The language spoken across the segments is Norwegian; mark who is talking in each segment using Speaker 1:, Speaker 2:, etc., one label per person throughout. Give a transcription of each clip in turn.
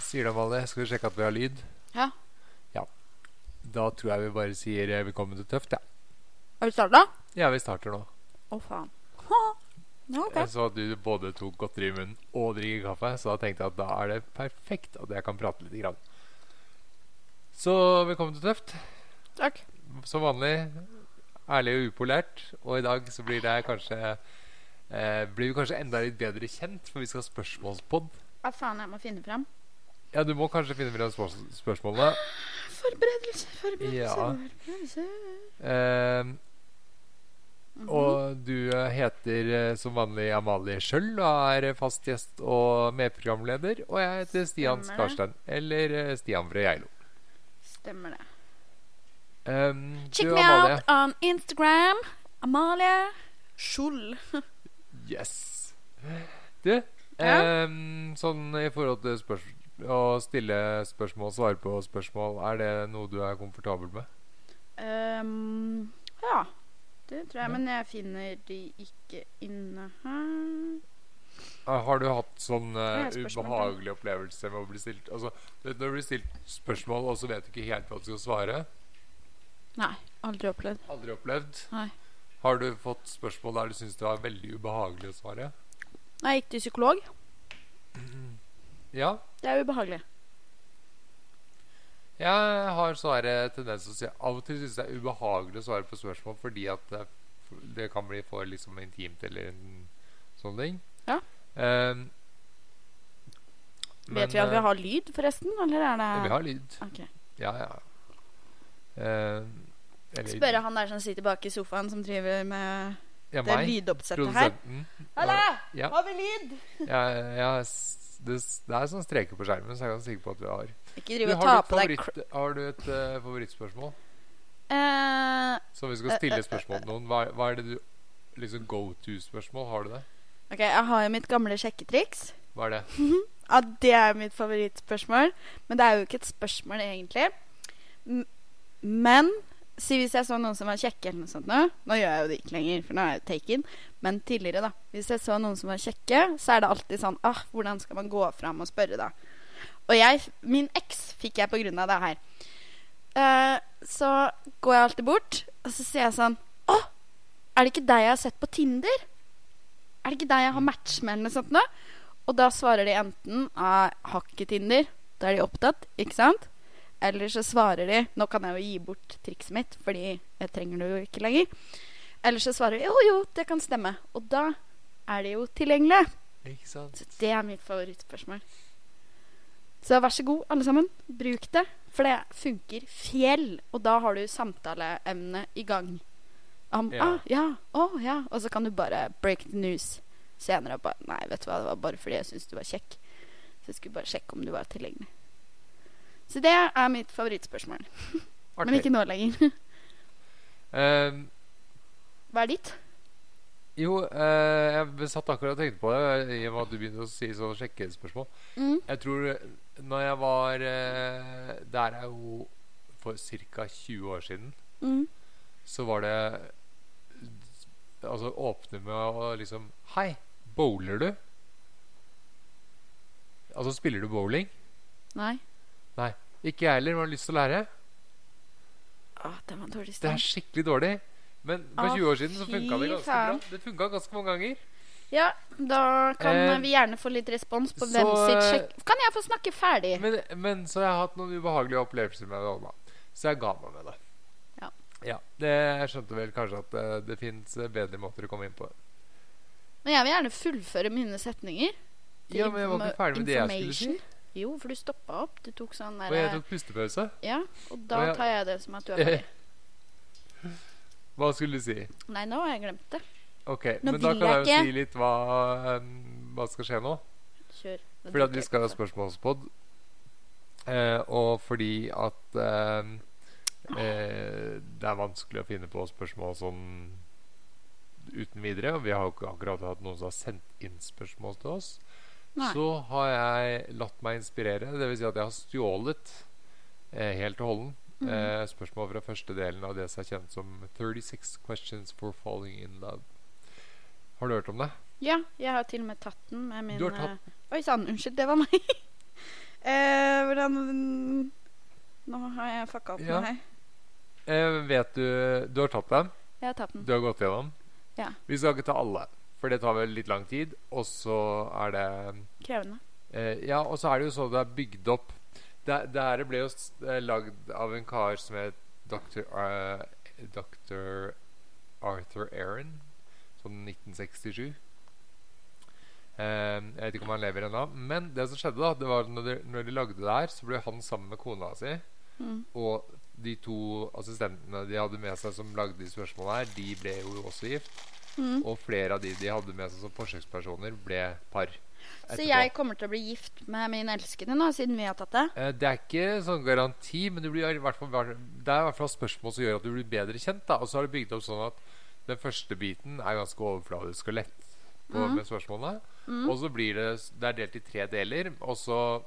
Speaker 1: sier da, Valle. Skal vi sjekke at vi har lyd?
Speaker 2: Ja.
Speaker 1: Ja. Da tror jeg vi bare sier eh, velkommen til Tøft, ja.
Speaker 2: Har du starta?
Speaker 1: Ja, vi starter nå.
Speaker 2: Å, faen. Ha. Ja, ok.
Speaker 1: Jeg så at du både tok godteri i munnen og drikker kaffe, så da tenkte jeg at da er det perfekt at jeg kan prate litt. Grann. Så velkommen til Tøft.
Speaker 2: Takk.
Speaker 1: Som vanlig ærlig og upolært. Og i dag så blir det kanskje eh, Blir vi kanskje enda litt bedre kjent, for vi skal ha spørsmålspod.
Speaker 2: Hva faen, jeg må finne fram.
Speaker 1: Ja, du må kanskje finne frem spørs spørsmålene.
Speaker 2: Forberedelse, forberedelse,
Speaker 1: Ja.
Speaker 2: forberedelse.
Speaker 1: Eh,
Speaker 2: Mhm.
Speaker 1: og du eh, heter eh, som vanlig Amalie Schjøll og er eh, fast gjest og medprogramleder. Og jeg heter Stian
Speaker 2: Stemmer det.
Speaker 1: Skarstein. Eller eh, Stian fra Geilo.
Speaker 2: Stemmer det.
Speaker 1: Um,
Speaker 2: Check
Speaker 1: du,
Speaker 2: me
Speaker 1: Amalie.
Speaker 2: out on Instagram. Amalie Skjold.
Speaker 1: Yes. Du,
Speaker 2: Ja.
Speaker 1: ehm, sånn i forhold til spørs å stille spørsmål, svare på spørsmål, er det noe du er komfortabel med?
Speaker 2: Ehm, ja. Det tror
Speaker 1: Ja.
Speaker 2: jeg, men jeg finner de ikke inne her.
Speaker 1: Eh, Har du hatt sånn eh,
Speaker 2: Det er et spørsmål,
Speaker 1: ubehagelig opplevelse med å bli stilt Altså, du vet når du blir stilt spørsmål, og så vet du ikke helt hva du skal svare?
Speaker 2: Nei, aldri opplevd.
Speaker 1: Aldri opplevd?
Speaker 2: Nei.
Speaker 1: Har du fått spørsmål der du syns det var veldig ubehagelig å svare?
Speaker 2: Jeg gikk til psykolog.
Speaker 1: Ja.
Speaker 2: Det er ubehagelig.
Speaker 1: Jeg har sånne tendens til å si Av og til synes jeg det er ubehagelig å svare på spørsmål fordi at det, det kan bli for liksom intimt eller en sånn ting.
Speaker 2: Ja.
Speaker 1: Ehm, men,
Speaker 2: Vet vi at vi
Speaker 1: eh,
Speaker 2: har lyd, forresten? Eller er det
Speaker 1: ja, Vi har lyd.
Speaker 2: Ok.
Speaker 1: Ja, ja. Ehm, eller-
Speaker 2: Spørre han der som sitter bak i sofaen, som driver med
Speaker 1: ja,
Speaker 2: det
Speaker 1: meg,
Speaker 2: lydoppsettet her.
Speaker 1: Produsenten. Ja.
Speaker 2: Har vi lyd?
Speaker 1: Jeg, jeg, det, det er sånn streker på skjermen, så jeg er ganske sikker på at vi har.
Speaker 2: Ikke
Speaker 1: Du,
Speaker 2: driv og ta
Speaker 1: har, du et
Speaker 2: på deg
Speaker 1: favoritt, har du et eh, favorittspørsmål?
Speaker 2: kr- Eh,
Speaker 1: Så vi skal stille spørsmål til noen. Hva, hva er det du Liksom go to-spørsmål, har du det?
Speaker 2: Ok, jeg har jo mitt gamle sjekketriks.
Speaker 1: Hva er det?
Speaker 2: Ja, det er mitt favorittspørsmål. Men det er jo ikke et spørsmål, egentlig. M men si hvis jeg så noen som var kjekke eller noe sånt nå Nå gjør jeg jo det ikke lenger, for nå er jeg jo taken. Men tidligere, da. Hvis jeg så noen som var kjekke, så er det alltid sånn ah, Hvordan skal man gå fram og spørre, da? Og jeg, min eks fikk jeg på grunn av det her. Eh, så går jeg alltid bort, og så sier jeg sånn Å, er det ikke deg jeg har sett på Tinder? Er det ikke deg jeg har match med, eller noe sånt nå? Og da svarer de enten av hakketinder, da er de opptatt, ikke sant? Eller så svarer de Nå kan jeg jo gi bort trikset mitt, fordi jeg trenger det jo ikke lenger. Eller så svarer de jo, jo, det kan stemme. Og da er de jo tilgjengelige.
Speaker 1: Ikke sant?
Speaker 2: Så det er mitt favorittspørsmål. Så vær så god, alle sammen. Bruk det. For det funker fjell. Og da har du samtaleemnet i gang. Om,
Speaker 1: Ja.
Speaker 2: Ah, ja. Å, ja. Og så kan du bare break the news senere. og Bare, nei, vet du hva, det var bare fordi jeg syntes du var kjekk. Så jeg skulle bare sjekke om du var tilgjengelig. Så det er mitt favorittspørsmål. Men
Speaker 1: Artig.
Speaker 2: ikke nå lenger.
Speaker 1: Ehm,
Speaker 2: Hva er ditt?
Speaker 1: jo, eh, jeg satt akkurat og tenkte på det i og med at du begynte å si sånne sjekkespørsmål.
Speaker 2: Mm.
Speaker 1: Jeg tror eh, når jeg var eh, Der er jo for ca. 20 år siden,
Speaker 2: Mm.
Speaker 1: så var det Altså åpne med å liksom Hei, bowler du? Altså, spiller du bowling?
Speaker 2: Nei.
Speaker 1: Ikke jeg heller, men har lyst til å lære.
Speaker 2: Å, den Ah, var dårlig
Speaker 1: Det er
Speaker 2: sted.
Speaker 1: skikkelig dårlig. Men for
Speaker 2: Å,
Speaker 1: 20 år siden så funka det
Speaker 2: fy
Speaker 1: ganske
Speaker 2: faen.
Speaker 1: bra. Det funket ganske mange ganger.
Speaker 2: Ja, da kan
Speaker 1: Eh,
Speaker 2: vi gjerne få litt respons på
Speaker 1: så,
Speaker 2: hvem sitt
Speaker 1: eh,
Speaker 2: sjekk... Kan jeg få snakke ferdig?
Speaker 1: Men, men så har jeg hatt noen ubehagelige opplevelser med det. også, da. Så jeg ga meg med det.
Speaker 2: Ja.
Speaker 1: det, jeg skjønte vel kanskje at det, det fins bedre måter å komme inn på.
Speaker 2: Men jeg vil gjerne fullføre mine setninger.
Speaker 1: Ja, men jeg var ikke
Speaker 2: Informa-
Speaker 1: ferdig med det jeg skulle si.
Speaker 2: information. Jo, for du stoppa opp. Du tok sånn
Speaker 1: Og jeg
Speaker 2: derre
Speaker 1: tok pustepause.
Speaker 2: Ja, og da
Speaker 1: og jeg-
Speaker 2: tar jeg det som at du er ferdig.
Speaker 1: Hva skulle du si?
Speaker 2: Nei, nå har jeg glemt det.
Speaker 1: Ok,
Speaker 2: Nå
Speaker 1: men da
Speaker 2: vil
Speaker 1: kan jeg
Speaker 2: jeg
Speaker 1: jo
Speaker 2: ikke.
Speaker 1: si litt hva, um, hva skal skje nå.
Speaker 2: Kjør. Den
Speaker 1: Fordi at
Speaker 2: tok
Speaker 1: vi
Speaker 2: jeg
Speaker 1: skal ha
Speaker 2: også.
Speaker 1: spørsmålspod. Eh, og fordi at eh, eh, det er vanskelig å finne på spørsmål sånn uten videre. Og vi har jo ikke akkurat hatt noen som har sendt inn spørsmål til oss.
Speaker 2: Nei.
Speaker 1: Så har jeg latt meg inspirere. Dvs. Si at jeg har stjålet eh, helt og holden
Speaker 2: Mhm. Mm.
Speaker 1: eh, spørsmål fra første delen av det som er kjent som 36 questions for falling in love. Har du hørt om det?
Speaker 2: Ja, jeg har til og med tatt den med min
Speaker 1: Du har tatt
Speaker 2: eh, Oi sann, unnskyld, det var meg. Eh, hvordan Nå har jeg fucka opp
Speaker 1: Ja.
Speaker 2: noe her.
Speaker 1: Eh, vet du Du har tatt dem.
Speaker 2: Jeg har tatt den.
Speaker 1: Du har gått gjennom.
Speaker 2: Ja.
Speaker 1: Vi skal ikke ta alle, for det tar vel litt lang tid. Og så er det
Speaker 2: Krevende.
Speaker 1: eh, Ja, og så er det jo sånn det er bygd opp. Det, det her ble jo s- eh, lagd av en kar som het Dr. Ar- Dr. Arthur Aaron, sånn 1967. Eh, jeg vet ikke om han lever ennå. Men det som skjedde, da, det var at når de, når de lagde det her, så ble han sammen med kona si.
Speaker 2: Mm.
Speaker 1: Og de to assistentene de hadde med seg som lagde de spørsmålene her, de ble jo også gift.
Speaker 2: Mm.
Speaker 1: Og flere av de de hadde med seg som forsøkspersoner, ble par.
Speaker 2: Så
Speaker 1: etterpå.
Speaker 2: jeg kommer til å bli gift med min elskede nå, siden vi har tatt det.
Speaker 1: Eh, Det er ikke sånn garanti, men du blir i hvert fall, det er i hvert fall spørsmål som gjør at du blir bedre kjent. da Og så har det bygd opp sånn at den første biten er ganske overfladisk og lett på,
Speaker 2: Mhm.
Speaker 1: med spørsmålene.
Speaker 2: Mhm.
Speaker 1: Og så blir det Det er delt i tre deler, og så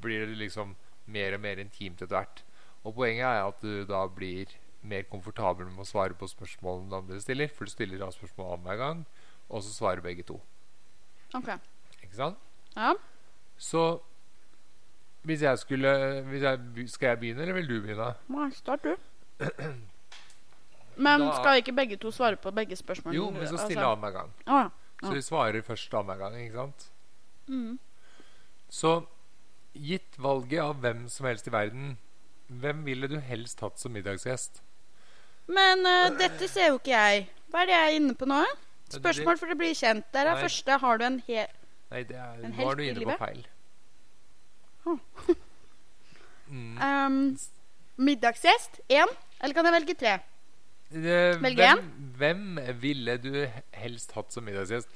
Speaker 1: blir det liksom mer og mer intimt etter hvert. Og poenget er at du da blir mer komfortabel med å svare på spørsmålene den andre stiller, for du stiller da spørsmål annenhver gang, og så svarer begge to.
Speaker 2: Ok.
Speaker 1: Ikke sant?
Speaker 2: Ja.
Speaker 1: Så hvis jeg skulle hvis jeg, be- Skal jeg begynne, eller vil du begynne?
Speaker 2: Nei, start du. Men
Speaker 1: Da-
Speaker 2: skal ikke begge to svare på begge spørsmålene?
Speaker 1: Jo,
Speaker 2: Altså-
Speaker 1: men så stille annenhver gang.
Speaker 2: Å ja.
Speaker 1: Så
Speaker 2: Ja.
Speaker 1: vi svarer først annenhver gang, ikke sant?
Speaker 2: Mm.
Speaker 1: Så gitt valget av hvem som helst i verden, hvem ville du helst hatt som middagsgjest?
Speaker 2: Men eh, dette ser jo ikke jeg. Hva er det jeg er inne på nå?
Speaker 1: det-
Speaker 2: Spørsmål for å bli kjent. Der er
Speaker 1: Nei.
Speaker 2: første. Har du en hel
Speaker 1: Nei, det er,
Speaker 2: En
Speaker 1: nå
Speaker 2: helt
Speaker 1: er du
Speaker 2: i
Speaker 1: inne på
Speaker 2: livet?
Speaker 1: feil.
Speaker 2: Huh.
Speaker 1: Mm.
Speaker 2: ehm, middagsgjest? Én? Eller kan jeg velge tre?
Speaker 1: Eh,
Speaker 2: Velg
Speaker 1: hvem, hvem ville du helst hatt som middagsgjest?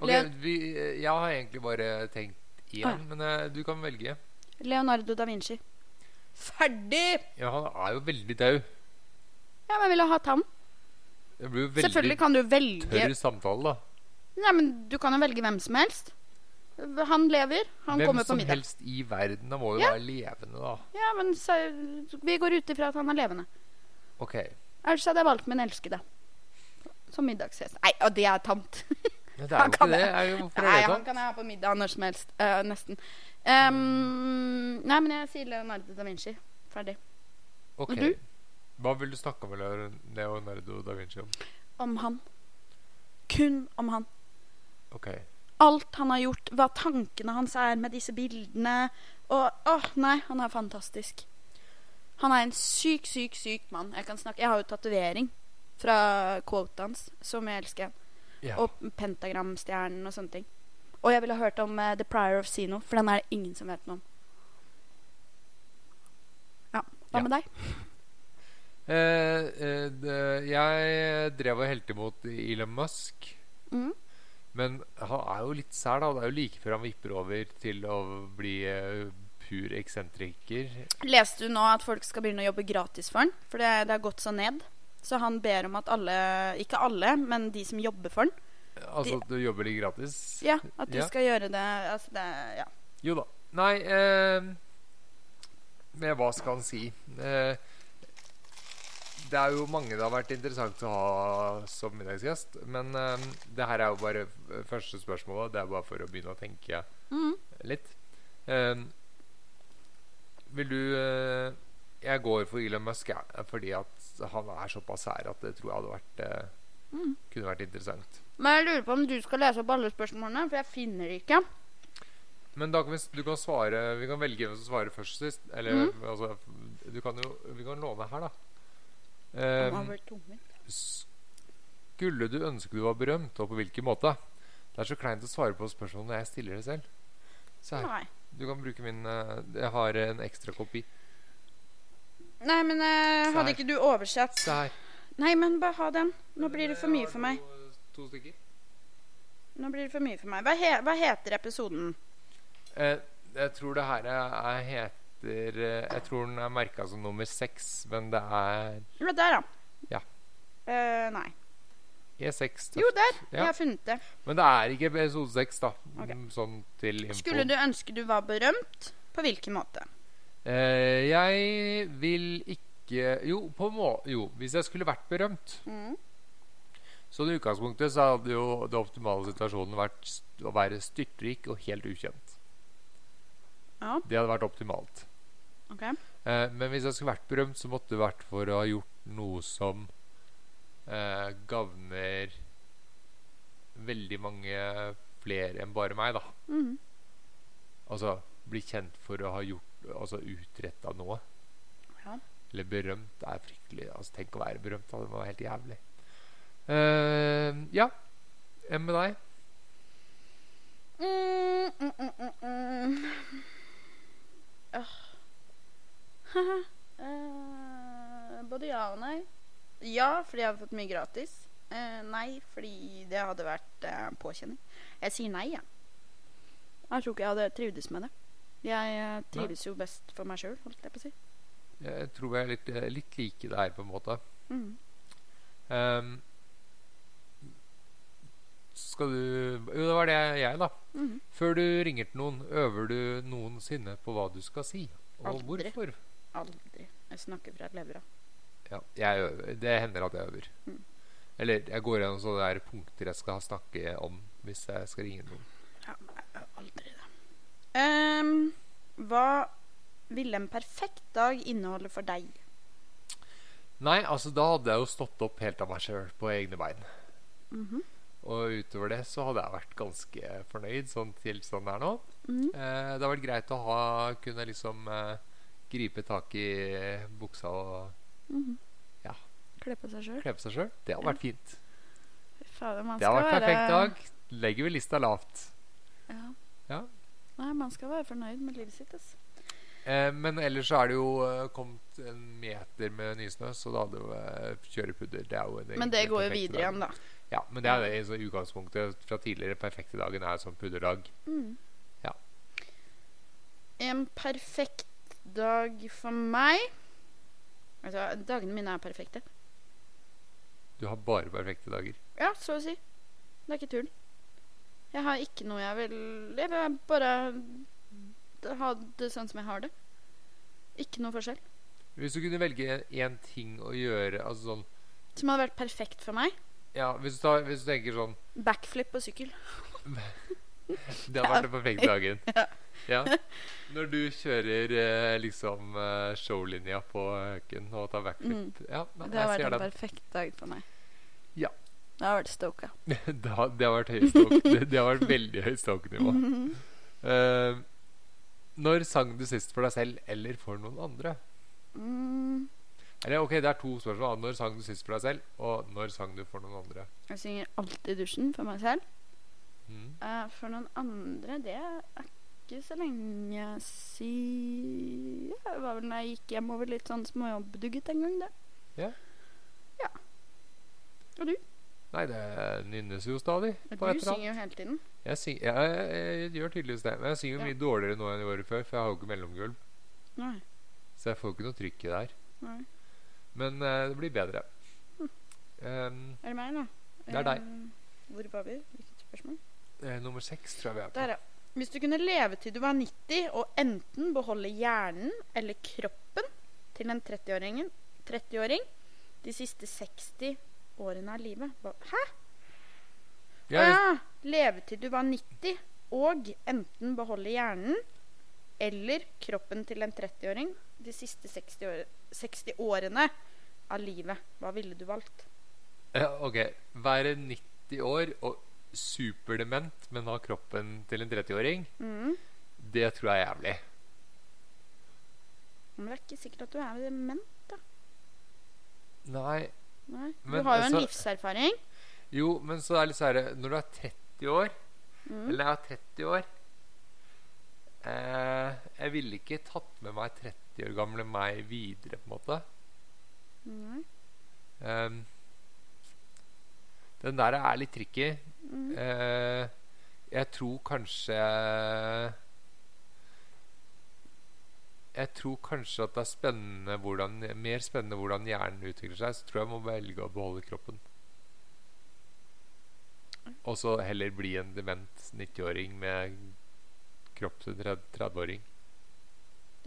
Speaker 1: Ok,
Speaker 2: Leon-
Speaker 1: vi, eh, jeg har egentlig bare tenkt én,
Speaker 2: Ah, ja.
Speaker 1: men eh, du kan velge.
Speaker 2: Leonardo da Vinci. Ferdig!
Speaker 1: Ja, han er jo veldig daud.
Speaker 2: Ja, men jeg ville hatt han.
Speaker 1: Det blir jo
Speaker 2: Selvfølgelig
Speaker 1: veldig
Speaker 2: kan du velge
Speaker 1: tørr samtale, da.
Speaker 2: Nei, men Du kan jo velge hvem som helst. Han lever. Han
Speaker 1: Hvem
Speaker 2: kommer på
Speaker 1: som
Speaker 2: middag.
Speaker 1: helst i verden. Da må jo
Speaker 2: Ja.
Speaker 1: være levende, da.
Speaker 2: Ja, men så, Vi går ut ifra at han er levende.
Speaker 1: Ok.
Speaker 2: Ellers hadde jeg valgt min elskede. Som middagsgjest. Nei, og det er tamt.
Speaker 1: Men det er
Speaker 2: Han
Speaker 1: jo
Speaker 2: kan
Speaker 1: ikke det. Er jo, hvorfor
Speaker 2: Nei,
Speaker 1: er det
Speaker 2: han
Speaker 1: sånn?
Speaker 2: kan jeg ha på middag når som helst. Eh, nesten. Ehm, nei, men jeg sier Leonardo da Vinci. Ferdig.
Speaker 1: Ok.
Speaker 2: Men du?
Speaker 1: Hva vil du snakke med Leon- Leonardo da Vinci om?
Speaker 2: Om han. Kun om han.
Speaker 1: Ok.
Speaker 2: Alt han har gjort, hva tankene hans er med disse bildene. Og åh, nei, han er fantastisk. Han er en syk, syk, syk mann. Jeg, kan snakke. jeg har jo tatovering fra quotet hans, som jeg elsker.
Speaker 1: Ja.
Speaker 2: Og pentagramstjernen og sånne ting. Og jeg ville ha hørt om eh, The Prior of Sino, for den er det ingen som vet noe om. Ja. Hva
Speaker 1: Ja.
Speaker 2: med deg?
Speaker 1: Eh, eh, det- jeg drev og helte imot Elon Musk.
Speaker 2: Mhm.
Speaker 1: Men han er jo litt sær, da. Det er jo like før han vipper over til å bli eh, pur eksentriker.
Speaker 2: Leste du nå at folk skal begynne å jobbe gratis for den? For det, det har gått så ned. Så han ber om at alle, ikke alle, men de som jobber for den,
Speaker 1: Altså at du jobber litt gratis.
Speaker 2: ja, at de
Speaker 1: Ja.
Speaker 2: skal gjøre det Altså det Ja.
Speaker 1: Jo da. Nei eh, Men hva skal han si? Eh, det er jo mange det har vært interessant å ha som middagsgjest. Men eh, det her er jo bare f- første spørsmålet. Det er bare for å begynne å tenke
Speaker 2: Mm.
Speaker 1: litt. Eh, vil du eh, Jeg går for Elon Musk jeg, fordi at han er såpass sær at det tror jeg hadde vært eh,
Speaker 2: Mm.
Speaker 1: kunne vært interessant.
Speaker 2: Men jeg lurer på om du skal lese opp alle spørsmålene, for jeg finner det ikke.
Speaker 1: Men da kan vi, s- du kan svare Vi kan velge hvem som svarer først sist. Eller
Speaker 2: Mhm.
Speaker 1: altså Du kan jo Vi kan låne her, da.
Speaker 2: Han
Speaker 1: Ehm,
Speaker 2: har vært tungvint.
Speaker 1: skulle du ønske du var berømt, og på hvilken måte? Det er så kleint å svare på spørsmål når jeg stiller det selv. Se her.
Speaker 2: Nei.
Speaker 1: Du kan bruke min eh, Jeg har en ekstra kopi.
Speaker 2: Nei, men eh,
Speaker 1: Se her.
Speaker 2: hadde ikke du oversett
Speaker 1: Se her.
Speaker 2: Nei, men bare ha den. Nå blir det for mye for meg.
Speaker 1: Eh, To, stykker.
Speaker 2: Nå blir det for mye for meg. Hva, he hva heter episoden?
Speaker 1: Eh, jeg tror det her er, er heter eh, Jeg tror den er merka som nummer seks, men det er
Speaker 2: Jo, der,
Speaker 1: Ja.
Speaker 2: ja. Eh, nei.
Speaker 1: E6.
Speaker 2: Jo, der.
Speaker 1: Ja.
Speaker 2: Jeg har funnet det.
Speaker 1: Men det er ikke episode 6, da.
Speaker 2: Ok.
Speaker 1: Mm, Sånn til info.
Speaker 2: Skulle du ønske du var berømt? På hvilken måte?
Speaker 1: Eh, jeg vil ikke Jo, på må jo, hvis jeg skulle vært berømt
Speaker 2: Mm.
Speaker 1: Så i utgangspunktet så hadde jo det optimale situasjonen vært st- å være styrtrik og helt ukjent.
Speaker 2: Ja.
Speaker 1: Det hadde vært optimalt.
Speaker 2: Ok.
Speaker 1: Eh, men hvis jeg skulle vært berømt, så måtte det vært for å ha gjort noe som eh, gagner veldig mange flere enn bare meg, da.
Speaker 2: Mhm.
Speaker 1: Altså bli kjent for å ha gjort Altså utretta noe.
Speaker 2: Ja.
Speaker 1: Eller berømt er fryktelig Altså Tenk å være berømt, da. Det må være helt jævlig. Eh, ja. Enn med deg?
Speaker 2: Mm, mm, mm, mm, mm. Åh. Eh, Både ja og nei. Ja, fordi jeg hadde fått mye gratis. Eh, nei, fordi det hadde vært eh, påkjenning. Jeg sier nei, jeg. Jeg tror ikke jeg hadde trivdes med det. Jeg eh, trives jo best for meg sjøl, holdt jeg på å si.
Speaker 1: Jeg tror jeg er litt, eh, litt like deg, på en måte.
Speaker 2: Mhm.
Speaker 1: Ehm, skal du Jo, det var det jeg, da.
Speaker 2: Mhm.
Speaker 1: Før du ringer til noen, øver du noensinne på hva du skal si? Og
Speaker 2: Aldri.
Speaker 1: hvorfor?
Speaker 2: Aldri. Jeg snakker fra levra.
Speaker 1: Ja, jeg øver. Det hender at jeg øver.
Speaker 2: Mm.
Speaker 1: Eller jeg går gjennom sånne der punkter jeg skal snakke om hvis jeg skal ringe noen.
Speaker 2: Ja, jeg gjør aldri det. Ehm, hva ville en perfekt dag inneholde for deg?
Speaker 1: Nei, altså da hadde jeg jo stått opp helt av meg sjøl på egne bein.
Speaker 2: Mhm.
Speaker 1: Og utover det så hadde jeg vært ganske fornøyd sånn tilstanden er nå.
Speaker 2: Mhm.
Speaker 1: Eh, det har vært greit å ha kunne liksom eh, gripe tak i buksa og
Speaker 2: Mhm.
Speaker 1: Ja.
Speaker 2: Kle på seg sjøl.
Speaker 1: kle på seg sjøl. Det hadde vært fint.
Speaker 2: Fader, man
Speaker 1: Det har
Speaker 2: skal
Speaker 1: vært
Speaker 2: være
Speaker 1: perfekt dag. Legger vi lista lavt.
Speaker 2: Ja.
Speaker 1: Ja.
Speaker 2: Nei, man skal være fornøyd med livet sitt. ass.
Speaker 1: Eh, men ellers så er det jo eh, kommet en meter med nysnø, så da hadde jo eh, kjørepudder. Det er jo en
Speaker 2: Men
Speaker 1: egentlig
Speaker 2: det
Speaker 1: den
Speaker 2: går jo
Speaker 1: perfekte
Speaker 2: videre
Speaker 1: dagen.
Speaker 2: igjen, da.
Speaker 1: Ja, men det er det i så utgangspunktet fra tidligere. Perfekte dagen er som pudderdag.
Speaker 2: Mhm.
Speaker 1: Ja.
Speaker 2: En perfekt dag for meg Altså, dagene mine er perfekte.
Speaker 1: Du har bare perfekte dager.
Speaker 2: Ja, så å si. Det er ikke tull. Jeg har ikke noe jeg vil Jeg vil bare d- ha det sånn som jeg har det. Ikke noe forskjell.
Speaker 1: Hvis du kunne velge én ting å gjøre altså sånn,
Speaker 2: Som hadde vært perfekt for meg.
Speaker 1: ja, hvis, du tar, hvis du tenker sånn
Speaker 2: Backflip på sykkel.
Speaker 1: Det hadde vært den perfekte dagen. Ja. Når du kjører eh, liksom eh, showlinja på Høken og tar
Speaker 2: Mm.
Speaker 1: backflip Ja, nei,
Speaker 2: Det har
Speaker 1: jeg
Speaker 2: vært
Speaker 1: ser
Speaker 2: en
Speaker 1: den.
Speaker 2: perfekt dag for meg.
Speaker 1: Ja.
Speaker 2: Det har vært stoka.
Speaker 1: det har det har vært høy stalk. Det, det har vært veldig høyt stalkenivå. Eh, når sang du sist for deg selv eller for noen andre?
Speaker 2: Mm,
Speaker 1: Eller ok, Det er to spørsmål. da. Når sang du sist for deg selv, og når sang du for noen andre?
Speaker 2: jeg synger alltid i dusjen for meg selv.
Speaker 1: Mm.
Speaker 2: Eh, for noen andre, det er ikke så lenge siden Det var vel da jeg gikk hjemover litt sånn småjobbdugget en gang, det.
Speaker 1: Nei, det nynnes jo stadig.
Speaker 2: Du
Speaker 1: på et eller annet.
Speaker 2: synger jo hele tiden.
Speaker 1: Jeg, syng, jeg, jeg, jeg gjør tydeligvis det. Men jeg synger jo
Speaker 2: Ja.
Speaker 1: mye dårligere nå enn i året før, for jeg har jo ikke mellomgulv.
Speaker 2: Nei.
Speaker 1: Så jeg får jo ikke noe trykk i det her.
Speaker 2: Nei.
Speaker 1: Men eh, det blir bedre.
Speaker 2: Hm.
Speaker 1: Um,
Speaker 2: Er det meg nå?
Speaker 1: Det er deg.
Speaker 2: Eh, Hvor var vi? Hvilket spørsmål?
Speaker 1: eh, nummer seks tror jeg vi er på.
Speaker 2: Der, ja. Hvis du kunne leve til du var 90 og enten beholde hjernen eller kroppen til en 30-åringen 30-åring de siste 60 årene av livet hva- Hæ?
Speaker 1: Ja, hvis-
Speaker 2: Ah, leve til du var 90 og enten beholde hjernen eller kroppen til en 30-åring de siste 60, år, 60 årene av livet. Hva ville du valgt?
Speaker 1: eh, ok. Være 90 år og superdement, men ha kroppen til en 30-åring,
Speaker 2: Mm.
Speaker 1: det tror jeg er jævlig.
Speaker 2: Men det er ikke sikkert at du er dement.
Speaker 1: Nei.
Speaker 2: Nei.
Speaker 1: Men,
Speaker 2: du har jo en
Speaker 1: altså-
Speaker 2: livserfaring.
Speaker 1: Jo, men så er det litt sånn her, Når du er 30 år
Speaker 2: Mm.
Speaker 1: Eller jeg er 30 år. Eh, jeg ville ikke tatt med meg 30 år gamle meg videre, på en måte.
Speaker 2: Nei.
Speaker 1: Ehm, den der er litt tricky.
Speaker 2: Mm.
Speaker 1: Eh, jeg tror kanskje Jeg tror kanskje at det er spennende hvordan, mer spennende hvordan hjernen utvikler seg. Så tror jeg jeg må velge å beholde kroppen. Og så heller bli en dement 90-åring med kropp til 30-åring.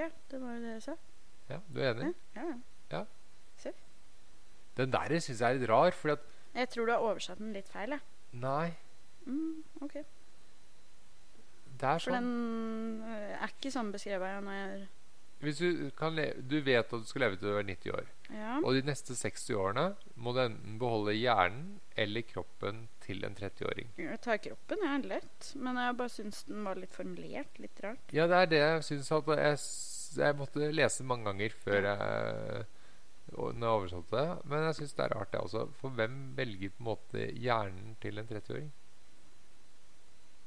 Speaker 2: Ja, det var jo det jeg sa.
Speaker 1: Ja, du er enig?
Speaker 2: Ja, ja.
Speaker 1: Den der syns jeg er litt rar, fordi at
Speaker 2: Jeg tror du har oversatt den litt feil. Jeg.
Speaker 1: Nei,
Speaker 2: Mm, ok.
Speaker 1: det er
Speaker 2: For
Speaker 1: sånn.
Speaker 2: eh, den øh, er ikke sånn beskrevet jeg når jeg
Speaker 1: Hvis du, kan le du vet at du skal leve til du er 90 år.
Speaker 2: Ja.
Speaker 1: Og de neste 60 årene må du enten beholde hjernen eller kroppen til en 30-åring.
Speaker 2: Jeg tar kroppen, jeg er lett. Men jeg bare syns den var litt formulert. Litt rart.
Speaker 1: Ja, det er det jeg syns at jeg, s- jeg måtte lese mange ganger før jeg, og når jeg oversatte det. Men jeg syns det er rart, det også. For hvem velger på en måte hjernen til en 30-åring?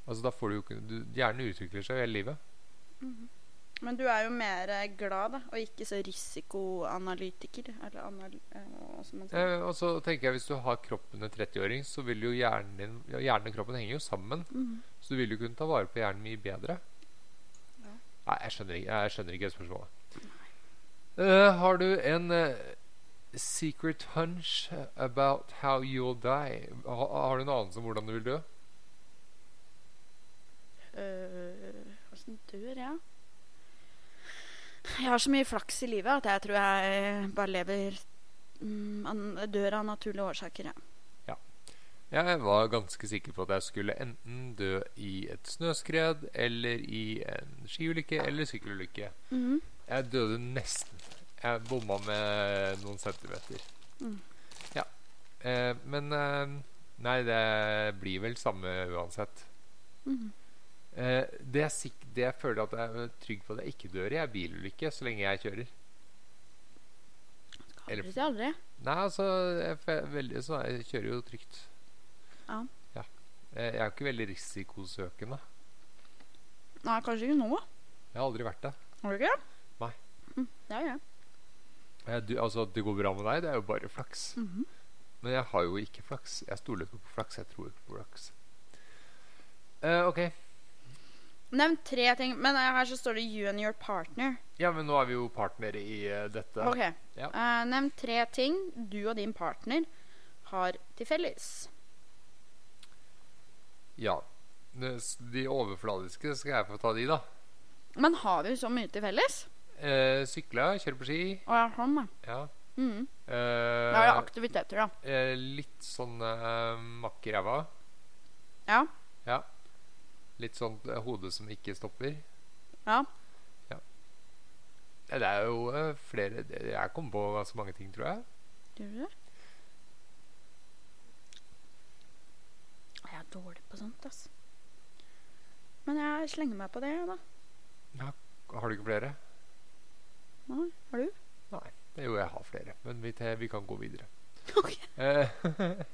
Speaker 1: Altså, da får du jo ikke du, Hjernen utvikler seg jo hele livet.
Speaker 2: Mm. Men du er jo mer eh, glad, da, og ikke så risikoanalytiker. Eller anal... eh, hva skal man si?
Speaker 1: Eh, og så tenker jeg Hvis du har kroppen en 30-åring, så vil jo hjernen din ja, Hjernen og kroppen henger jo sammen.
Speaker 2: Mhm.
Speaker 1: Så du vil jo kunne ta vare på hjernen mye bedre.
Speaker 2: Ja.
Speaker 1: Nei, jeg skjønner ikke, jeg skjønner ikke det spørsmålet. Eh, har du en eh, secret hunch about how you'll die? Ha, har du en anelse om hvordan du vil dø?
Speaker 2: Øh, Åssen dør jeg? Jeg har så mye flaks i livet at jeg tror jeg eh, bare lever mm, an- Dør av naturlige årsaker, ja.
Speaker 1: Jeg var ganske sikker på at jeg skulle enten dø i et snøskred eller i en skiulykke eller sykkelulykke.
Speaker 2: Mhm.
Speaker 1: Jeg døde nesten. Jeg bomma med noen centimeter.
Speaker 2: Mm.
Speaker 1: Ja. Eh, men eh, Nei, det blir vel samme uansett.
Speaker 2: Mhm.
Speaker 1: Eh, det, jeg sik det jeg føler at jeg er trygg på at jeg ikke dør i, er bilulykke så lenge jeg kjører.
Speaker 2: Skal
Speaker 1: Eller-
Speaker 2: Aldri si aldri.
Speaker 1: Nei, altså Jeg, fe- veldig, sånn, jeg kjører jo trygt.
Speaker 2: Ja.
Speaker 1: Eh, Jeg er jo ikke veldig risikosøkende.
Speaker 2: Nei, kanskje ikke nå.
Speaker 1: Jeg har aldri vært det.
Speaker 2: Har du ikke?
Speaker 1: Nei.
Speaker 2: Mm, det er jeg.
Speaker 1: Eh, Du, altså At det går bra med deg, det er jo bare flaks.
Speaker 2: Mhm.
Speaker 1: Men jeg har jo ikke flaks. Jeg stoler ikke på flaks. Jeg tror ikke på flaks. Eh, ok.
Speaker 2: Nevn tre ting. Men eh, her så står det 'you and your partner'.
Speaker 1: Ja, men nå er vi jo partnere i eh, dette.
Speaker 2: Ok.
Speaker 1: Ja.
Speaker 2: Eh, nevn tre ting du og din partner har til felles.
Speaker 1: Ja. Det s- De overfladiske skal jeg få ta de, da.
Speaker 2: Men har vi så mye til felles?
Speaker 1: Eh, sykle, kjøre på ski.
Speaker 2: Å ja, sånn, da.
Speaker 1: Ja.
Speaker 2: Mhm. Da er det
Speaker 1: Eh,
Speaker 2: aktiviteter, da.
Speaker 1: eh, litt sånn eh, makk i ræva.
Speaker 2: Ja.
Speaker 1: Ja. Litt sånn eh, hode som ikke stopper.
Speaker 2: Ja.
Speaker 1: Ja. Eh, Det er jo eh, flere det- Jeg kom på ganske mange ting, tror jeg.
Speaker 2: Gjør du det? Jeg er dårlig på sånt, ass. Men jeg slenger meg på det, da.
Speaker 1: Har du ikke flere?
Speaker 2: Nei, har du?
Speaker 1: Jo, jeg har flere, men vi, te- vi kan gå videre.
Speaker 2: Ok.
Speaker 1: Eh,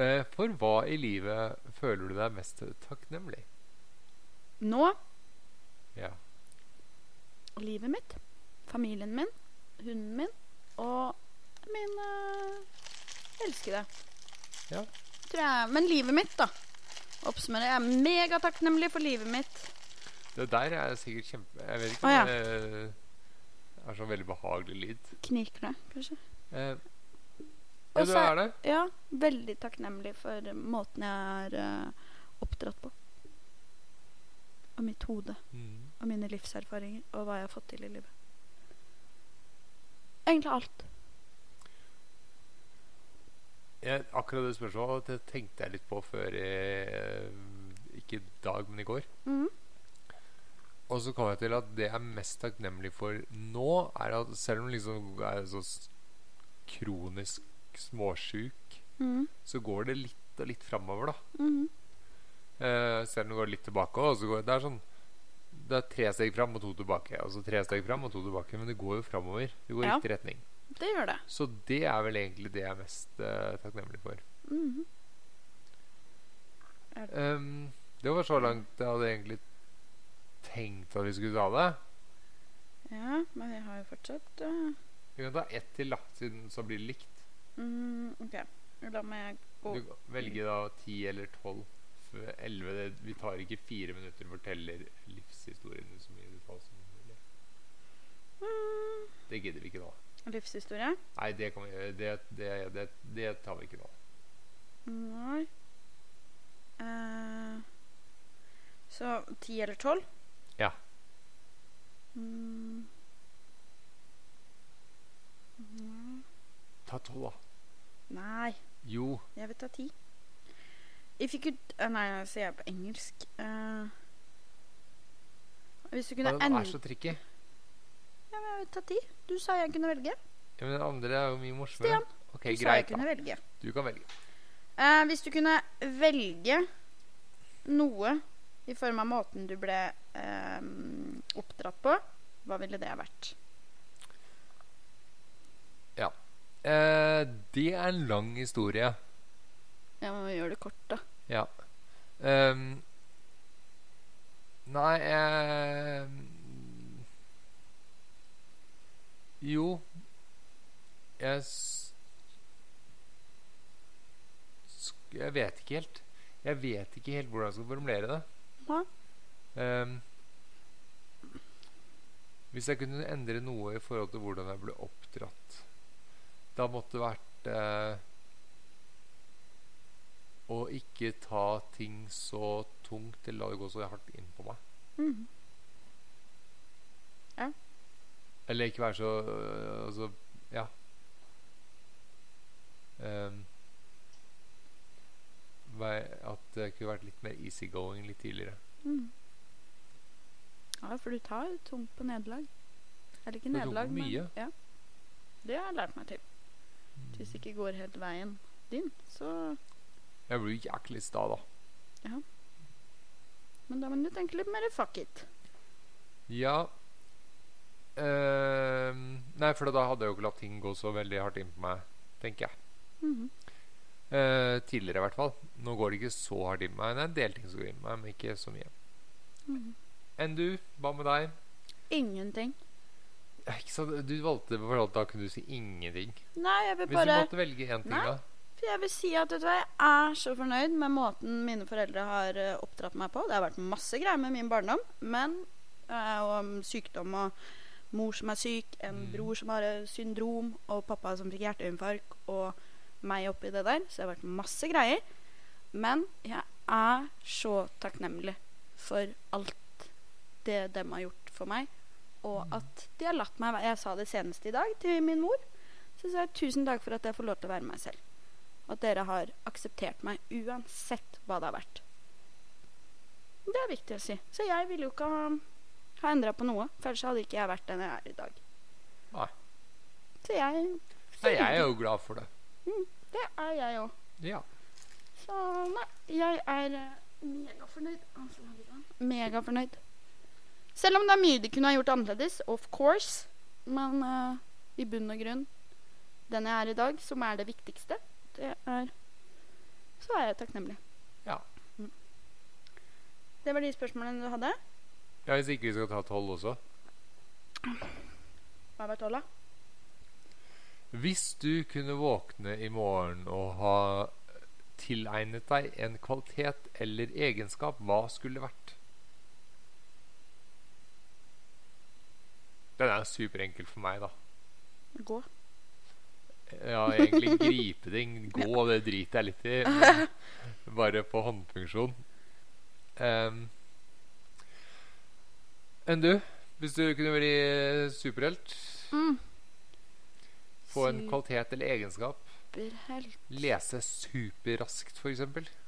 Speaker 1: eh, For hva i livet føler du deg mest takknemlig?
Speaker 2: Nå
Speaker 1: Ja.
Speaker 2: livet mitt, familien min, hunden min og min øh, elskede.
Speaker 1: Ja.
Speaker 2: Tror jeg. Men livet mitt, da. Oppsummerer. Jeg er megatakknemlig for livet mitt.
Speaker 1: Det der er sikkert kjempe... Jeg vet ikke
Speaker 2: Å, ja.
Speaker 1: om det eh, er sånn veldig behagelig lyd.
Speaker 2: Knirker det, kanskje?
Speaker 1: Eh,
Speaker 2: Og
Speaker 1: ja, du
Speaker 2: så-
Speaker 1: er det?
Speaker 2: Ja. Veldig takknemlig for måten jeg er øh, oppdratt på. Og mitt hode.
Speaker 1: Mm.
Speaker 2: Og mine livserfaringer. Og hva jeg har fått til i livet. Egentlig alt.
Speaker 1: Jeg, akkurat det spørsmålet det tenkte jeg litt på før eh, Ikke i dag, men i går.
Speaker 2: Mhm.
Speaker 1: Og så kom jeg til at det jeg er mest takknemlig for nå, er at selv om liksom jeg er så s- kronisk småsjuk,
Speaker 2: Mhm.
Speaker 1: så går det litt og litt framover, da.
Speaker 2: Mhm.
Speaker 1: Eh, selv om det går litt tilbake også, så går det er sånn Det er tre steg fram og to tilbake. Og så tre steg fram og to tilbake. Men det går jo framover. Det går i
Speaker 2: Ja.
Speaker 1: riktig retning.
Speaker 2: Det gjør det.
Speaker 1: Så det er vel egentlig det jeg er mest eh, takknemlig for.
Speaker 2: Mhm.
Speaker 1: Ehm, det var så langt jeg hadde egentlig tenkt at vi skulle ta det.
Speaker 2: Ja, men jeg har jo fortsatt øh,
Speaker 1: Vi kan ta ett til, da, siden så blir det likt.
Speaker 2: Mm, ok. Da må jeg gå
Speaker 1: Du kan velge da ti eller tolv. f- Elleve det- Vi tar ikke fire minutter og forteller livshistorien din så mye detalj som mulig.
Speaker 2: mm,
Speaker 1: Det gidder vi ikke nå.
Speaker 2: Livshistorie?
Speaker 1: Nei, det kan vi gjøre. Det, det, det, det tar vi ikke nå.
Speaker 2: Nei. Eh, så ti eller tolv?
Speaker 1: Ja.
Speaker 2: Mm. Mm,
Speaker 1: Ta tolv, da.
Speaker 2: Nei,
Speaker 1: Jo.
Speaker 2: jeg vil ta ti. If you could eh, Nei, jeg sier jeg på engelsk. Eh, Hvis du kunne
Speaker 1: Men Den er
Speaker 2: endre
Speaker 1: så tricky.
Speaker 2: ja, men Ta ti. Du sa jeg kunne velge.
Speaker 1: Ja, men den andre er jo mye morsommere.
Speaker 2: Stian,
Speaker 1: Ok,
Speaker 2: du sa jeg
Speaker 1: greit,
Speaker 2: kunne
Speaker 1: da.
Speaker 2: velge.
Speaker 1: Du kan velge.
Speaker 2: Eh, hvis du kunne velge noe i form av måten du ble eh, oppdratt på, hva ville det vært?
Speaker 1: Eh, det er en lang historie.
Speaker 2: Jeg må gjøre det kort, da.
Speaker 1: Ja. Ehm, nei eh, Jo Jeg s s- Jeg vet ikke helt. Jeg vet ikke helt hvordan jeg skal formulere det.
Speaker 2: Hva?
Speaker 1: Ehm, hvis jeg kunne endre noe i forhold til hvordan jeg ble oppdratt, da måtte det vært eh, å ikke ta ting så tungt eller la det gå så hardt inn på meg.
Speaker 2: Mhm.
Speaker 1: Eller ikke være så øh, Altså, ja. Ehm, vær- at jeg kunne vært litt mer easygoing litt tidligere.
Speaker 2: Mhm. Ja, for du tar jo tungt på nederlag. Eller ikke
Speaker 1: Du tok
Speaker 2: nederlag, men
Speaker 1: mye.
Speaker 2: ja. Det har jeg lært meg til. Hvis det ikke går helt veien din, så
Speaker 1: Jeg blir jo jæklig sta, da.
Speaker 2: Men da må du tenke litt mer fuck it.
Speaker 1: Ja Ehm, Nei, for da hadde jeg jo ikke latt ting gå så veldig hardt inn på meg, tenker jeg.
Speaker 2: Mhm.
Speaker 1: Eh, tidligere, i hvert fall. Nå går det ikke så hardt inn på meg. Det er en del ting som går inn på meg, men ikke så mye.
Speaker 2: Mhm.
Speaker 1: Enn du? Hva med deg?
Speaker 2: Ingenting.
Speaker 1: Ja, Ikke sant? Du valgte for at da kunne du si ingenting.
Speaker 2: Nei, jeg vil
Speaker 1: Hvis du
Speaker 2: bare
Speaker 1: måtte velge én ting,
Speaker 2: Nei.
Speaker 1: da?
Speaker 2: For jeg vil si at vet du hva, jeg er så fornøyd med måten mine foreldre har eh, oppdratt meg på. Det har vært masse greier med min barndom, men eh, og om sykdom og mor som er syk, en
Speaker 1: Mm.
Speaker 2: bror som har eh, syndrom, og pappa som fikk hjerteinfarkt, og meg oppi det der. Så det har vært masse greier. Men jeg er så takknemlig for alt det dem har gjort for meg, og at de har latt meg være Jeg sa det senest i dag til min mor. Så sa jeg tusen takk for at jeg får lov til å være meg selv. Og at dere har akseptert meg uansett hva det har vært. Det er viktig å si. Så jeg ville jo ikke ha, ha endra på noe. For ellers hadde ikke jeg vært den jeg er i dag.
Speaker 1: Nei.
Speaker 2: Så jeg
Speaker 1: Nei, jeg er jo glad for det.
Speaker 2: Det er jeg òg.
Speaker 1: Ja.
Speaker 2: Så nei, jeg er eh, megafornøyd. Altså, hva vil han? Megafornøyd. Selv om det er mye de kunne ha gjort annerledes, of course. Men eh, i bunn og grunn, den jeg er i dag, som er det viktigste, det er Så er jeg takknemlig.
Speaker 1: Ja.
Speaker 2: Mm. Det var de spørsmålene du hadde.
Speaker 1: ja hvis ikke vi skal ta tolv også.
Speaker 2: Hva var tolv, da?
Speaker 1: Hvis du kunne våkne i morgen og ha tilegnet deg en kvalitet eller egenskap, hva skulle det vært? Den er superenkel for meg, da.
Speaker 2: Gå.
Speaker 1: Ja, egentlig gripe ting. Gå, det driter jeg litt i. men Bare på håndfunksjon. Ehm. Enn du? Hvis du kunne bli superhelt,
Speaker 2: Mm.
Speaker 1: få en kvalitet eller egenskap
Speaker 2: Superhelt
Speaker 1: Lese superraskt, f.eks.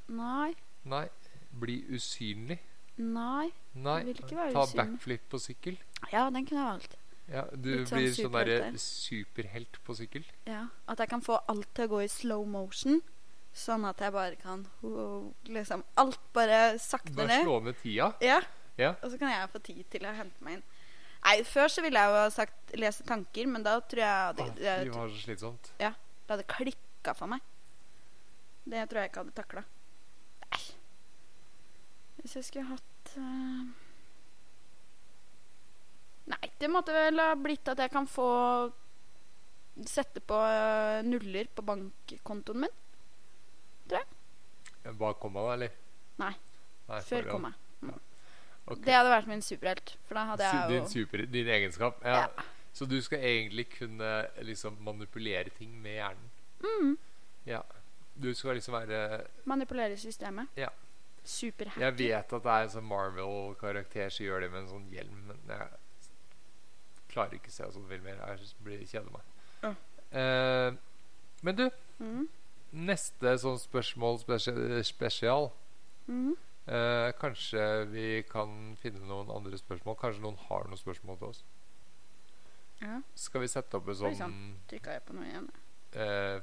Speaker 2: Nei.
Speaker 1: Nei. Bli usynlig.
Speaker 2: Nei.
Speaker 1: Nei.
Speaker 2: vil ikke være
Speaker 1: Ta
Speaker 2: usynlig.
Speaker 1: backflip på sykkel.
Speaker 2: Ja, den kunne jeg valgt.
Speaker 1: Ja, du
Speaker 2: Litt sånn
Speaker 1: blir sånn derre
Speaker 2: superhelt der.
Speaker 1: superhelt på sykkel.
Speaker 2: Ja, At jeg kan få alt til å gå i slow motion. Sånn at jeg bare kan wow, liksom Alt bare sakte
Speaker 1: Bare
Speaker 2: ned.
Speaker 1: slå ned tida.
Speaker 2: Ja.
Speaker 1: Ja.
Speaker 2: Og så kan jeg få tid til å hente meg inn. Nei, Før så ville jeg jo ha sagt lese tanker, men da tror jeg
Speaker 1: Å,
Speaker 2: det, det,
Speaker 1: Fy, var så slitsomt.
Speaker 2: det hadde klikka for meg. Det tror jeg ikke hadde takla. Nei. Hvis jeg skulle hatt eh, Nei, det måtte vel ha blitt at jeg kan få sette på eh, nuller på bankkontoen min.
Speaker 1: Bak komma, da, eller?
Speaker 2: Nei.
Speaker 1: Nei
Speaker 2: Før
Speaker 1: foran.
Speaker 2: komma.
Speaker 1: Ok.
Speaker 2: Det hadde vært min superhelt. For da hadde
Speaker 1: Su-
Speaker 2: jeg
Speaker 1: din,
Speaker 2: jo
Speaker 1: super, din egenskap. Ja.
Speaker 2: Ja.
Speaker 1: Så du skal egentlig kunne liksom manipulere ting med hjernen.
Speaker 2: mm,
Speaker 1: Du skal liksom være
Speaker 2: manipulere systemet.
Speaker 1: Ja.
Speaker 2: Superhelt.
Speaker 1: Jeg vet at det er en sånn Marvel-karakter som gjør det med en sånn hjelm, men jeg klarer ikke å se sånne filmer. Jeg blir kjeder meg.
Speaker 2: Ja.
Speaker 1: Eh, men du,
Speaker 2: Mm,
Speaker 1: neste sånn spørsmål spesial,
Speaker 2: mm.
Speaker 1: Eh, kanskje vi kan finne noen andre spørsmål. Kanskje noen har noen spørsmål til oss.
Speaker 2: Ja.
Speaker 1: Skal vi sette opp en
Speaker 2: Oi,
Speaker 1: sånn
Speaker 2: Trykka jeg på noe igjen?
Speaker 1: eh,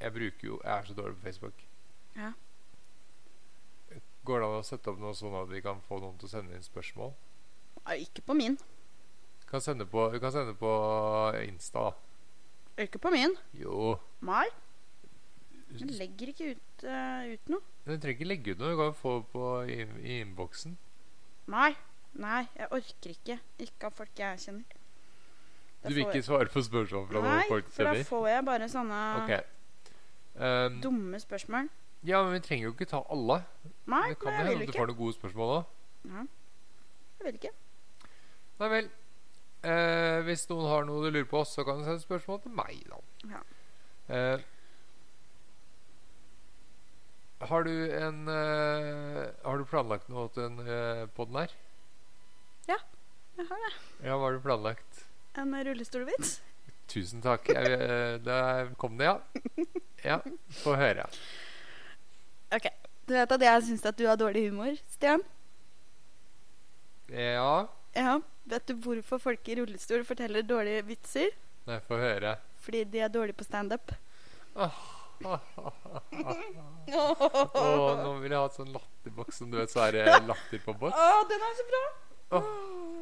Speaker 1: Jeg bruker jo Jeg er så dårlig på Facebook.
Speaker 2: Ja.
Speaker 1: Går det an å sette opp noe sånn at vi kan få noen til å sende inn spørsmål?
Speaker 2: Ah, ikke på min.
Speaker 1: Kan sende på, vi kan sende på Insta, da.
Speaker 2: Ikke på min.
Speaker 1: Jo.
Speaker 2: Nei.
Speaker 1: Du
Speaker 2: Jeg legger ikke ut, eh, ut noe.
Speaker 1: du trenger ikke legge ut noe. Du kan få det på i, i innboksen.
Speaker 2: Nei. Nei, jeg orker ikke. Ikke av folk jeg kjenner. Da
Speaker 1: Du vil
Speaker 2: får
Speaker 1: ikke
Speaker 2: jeg-
Speaker 1: svare på spørsmål fra
Speaker 2: Nei,
Speaker 1: noen folk
Speaker 2: for da
Speaker 1: sender?
Speaker 2: får jeg bare sånne
Speaker 1: Ok. Um,
Speaker 2: dumme spørsmål.
Speaker 1: ja, men vi trenger jo ikke ta alle. Det
Speaker 2: Nei, men
Speaker 1: kan
Speaker 2: jeg
Speaker 1: hende
Speaker 2: vil
Speaker 1: at du
Speaker 2: ikke.
Speaker 1: får noen gode spørsmål òg.
Speaker 2: Jeg vil ikke.
Speaker 1: Nei vel. Eh, hvis noen har noe de lurer på, så kan du sende spørsmål til meg, da.
Speaker 2: Ja.
Speaker 1: Eh, har du en eh, Har du planlagt noe til den eh, podden her?
Speaker 2: Jeg har det.
Speaker 1: Ja, hva har du planlagt?
Speaker 2: En rullestolvits.
Speaker 1: Tusen takk. Jeg, eh, der kom det, ja. Ja, få høre.
Speaker 2: Du vet at jeg syns at du har dårlig humor, Stian?
Speaker 1: Ja.
Speaker 2: Ja. Vet du hvorfor folk i rullestol forteller dårlige vitser?
Speaker 1: Nei, få høre.
Speaker 2: Fordi de er dårlige på standup.
Speaker 1: Å, nå vil jeg ha et sånn latterboks som du vet, så er det latter på boks.
Speaker 2: Å, den er så bra!
Speaker 1: Åh.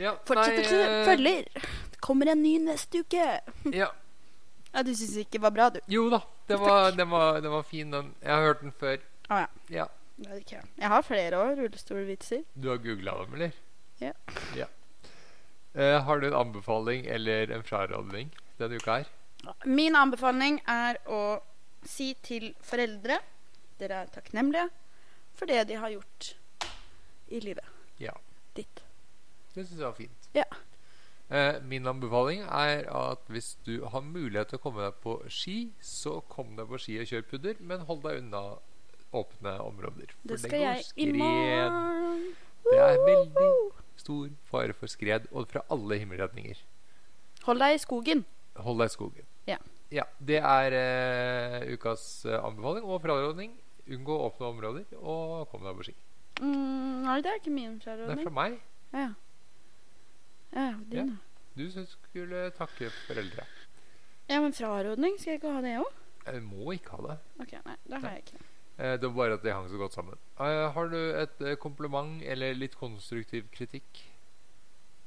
Speaker 1: Ja,
Speaker 2: Fortsett å
Speaker 1: nei,
Speaker 2: klø.
Speaker 1: eh,
Speaker 2: Følger. Det kommer en ny neste uke.
Speaker 1: Ja.
Speaker 2: Ja, Du syns ikke det var bra, du?
Speaker 1: Jo da, den var, den, var, den var fin, den. Jeg har hørt den før.
Speaker 2: Å, ja.
Speaker 1: Ja.
Speaker 2: Jeg har flere år rullestolvitser.
Speaker 1: Du har googla dem, eller?
Speaker 2: Ja.
Speaker 1: Ja. Eh, har du en anbefaling eller en frarådning denne uka her?
Speaker 2: Min anbefaling er å si til foreldre dere er takknemlige for det de har gjort i livet
Speaker 1: Ja.
Speaker 2: ditt.
Speaker 1: Det syns jeg var fint.
Speaker 2: Ja.
Speaker 1: Eh, min anbefaling er at hvis du har mulighet til å komme deg på ski, så kom deg på ski og kjør pudder, men hold deg unna åpne områder. For
Speaker 2: Det skal jeg i
Speaker 1: skred.
Speaker 2: morgen.
Speaker 1: Det er veldig- Stor fare for skred, og fra alle himmelretninger.
Speaker 2: Hold deg i skogen.
Speaker 1: Hold deg i skogen.
Speaker 2: Ja.
Speaker 1: det er eh, ukas eh, anbefaling og frarådning. Unngå åpne områder, og kom deg på ski.
Speaker 2: Mm, nei, det er ikke min
Speaker 1: Det er
Speaker 2: frarådning.
Speaker 1: fra meg.
Speaker 2: Ja. Ja, din. da.
Speaker 1: Du som skulle takke foreldre.
Speaker 2: ja, men frarådning? Skal jeg ikke ha det òg?
Speaker 1: Jeg må ikke ha det.
Speaker 2: Ok, nei, da har jeg ikke det.
Speaker 1: Eh, det var bare at det hang så godt sammen. Eh, har du et eh, kompliment eller litt konstruktiv kritikk?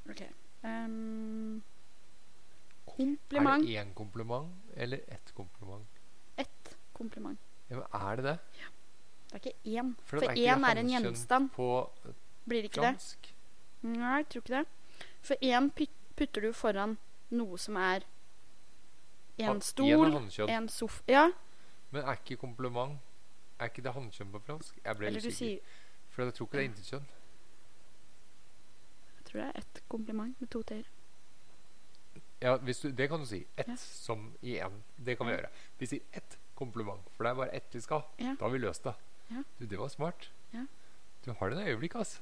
Speaker 2: Ok. Ehm,
Speaker 1: Er
Speaker 2: kompliment.
Speaker 1: det én kompliment eller ett kompliment?
Speaker 2: Ett kompliment.
Speaker 1: Ja, men er det det?
Speaker 2: Det er ikke én.
Speaker 1: For
Speaker 2: For
Speaker 1: det er ikke
Speaker 2: én er en
Speaker 1: hanskjønn.
Speaker 2: gjenstand.
Speaker 1: På
Speaker 2: Blir det ikke det?
Speaker 1: fransk?
Speaker 2: Nei, jeg tror ikke det. For én pyt- putter du foran noe som er
Speaker 1: Han-
Speaker 2: en
Speaker 1: Igjen er
Speaker 2: stol,
Speaker 1: hanskjønn.
Speaker 2: en sofa Ja,
Speaker 1: Men er ikke kompliment Er ikke det hannkjønn på fransk? Jeg ble
Speaker 2: eller du
Speaker 1: usikker.
Speaker 2: sier
Speaker 1: For jeg tror ikke det er intetkjønn.
Speaker 2: Jeg tror det er ett kompliment med to t-er.
Speaker 1: Ja, hvis du, det kan du si. Ett
Speaker 2: Ja.
Speaker 1: som i én. Det kan vi
Speaker 2: Ja.
Speaker 1: gjøre. Vi sier ett kompliment, for det er bare ett vi skal ha.
Speaker 2: Ja.
Speaker 1: Da har vi løst det.
Speaker 2: Ja.
Speaker 1: Du, det var smart.
Speaker 2: Ja.
Speaker 1: Du har det i øyeblikket, altså.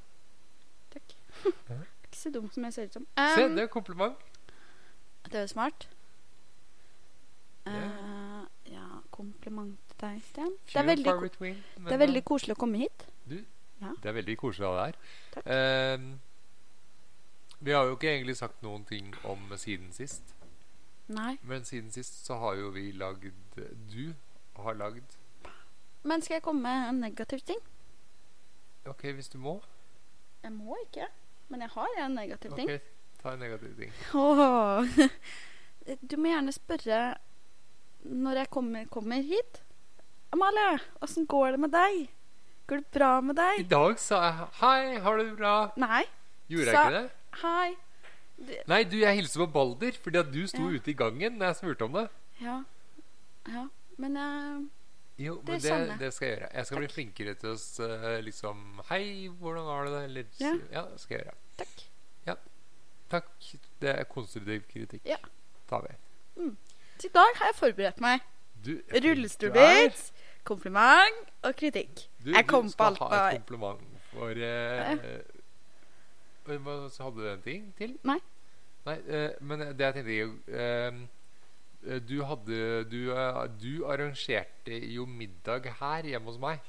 Speaker 2: Takk.
Speaker 1: Ja.
Speaker 2: Ikke så dum som jeg ser ut som.
Speaker 1: Se,
Speaker 2: Ehm,
Speaker 1: det er kompliment.
Speaker 2: Det er jo smart.
Speaker 1: Ja.
Speaker 2: Eh, ja, kompliment til deg, Stian. Det
Speaker 1: Few
Speaker 2: er, veldig,
Speaker 1: far
Speaker 2: ko-
Speaker 1: between, men,
Speaker 2: det er veldig koselig å komme hit.
Speaker 1: eh, det er veldig koselig av deg her.
Speaker 2: Takk.
Speaker 1: Ehm, vi har jo ikke egentlig sagt noen ting om siden sist.
Speaker 2: Nei.
Speaker 1: Men siden sist så har jo vi lagd Du har lagd
Speaker 2: Men skal jeg komme med en negativ ting?
Speaker 1: OK, hvis du må.
Speaker 2: Jeg må ikke. Men jeg har en negativ ting.
Speaker 1: Ok, Ta en negativ ting.
Speaker 2: Åh. Du må gjerne spørre når jeg kommer, kommer hit. Amalie, åssen går det med deg? Går det bra med
Speaker 1: I
Speaker 2: deg?
Speaker 1: dag sa jeg 'Hei, har du det bra?'
Speaker 2: Nei.
Speaker 1: Gjorde jeg
Speaker 2: Sa-
Speaker 1: ikke det?
Speaker 2: Hei.
Speaker 1: Nei, du, jeg hilser på Balder, fordi at du sto
Speaker 2: Ja.
Speaker 1: ute i gangen når jeg spurte om det.
Speaker 2: Ja. Ja. Men eh,
Speaker 1: Jo,
Speaker 2: Det sånn,
Speaker 1: men det,
Speaker 2: skjønner jeg.
Speaker 1: det skal jeg gjøre. Jeg skal bli flinkere til å s- eh, liksom Hei, hvordan har du det? Eller s-
Speaker 2: Ja.
Speaker 1: Ja, det skal jeg gjøre.
Speaker 2: takk.
Speaker 1: Takk. Det er konstruktiv kritikk.
Speaker 2: Ja.
Speaker 1: Tar vi.
Speaker 2: Så i dag har jeg forberedt meg.
Speaker 1: Du, jeg tror
Speaker 2: Rullestolvits, kompliment og kritikk.
Speaker 1: du er-
Speaker 2: Jeg
Speaker 1: du
Speaker 2: kom på
Speaker 1: skal
Speaker 2: alt
Speaker 1: ha
Speaker 2: bare.
Speaker 1: et kompliment for eh, eh, hva- Så hadde du en ting til?
Speaker 2: Nei.
Speaker 1: Nei, eh, men det jeg tenkte eh, eh, Du
Speaker 2: Mm.
Speaker 1: hadde Du, eh, du arrangerte jo middag her hjemme hos meg.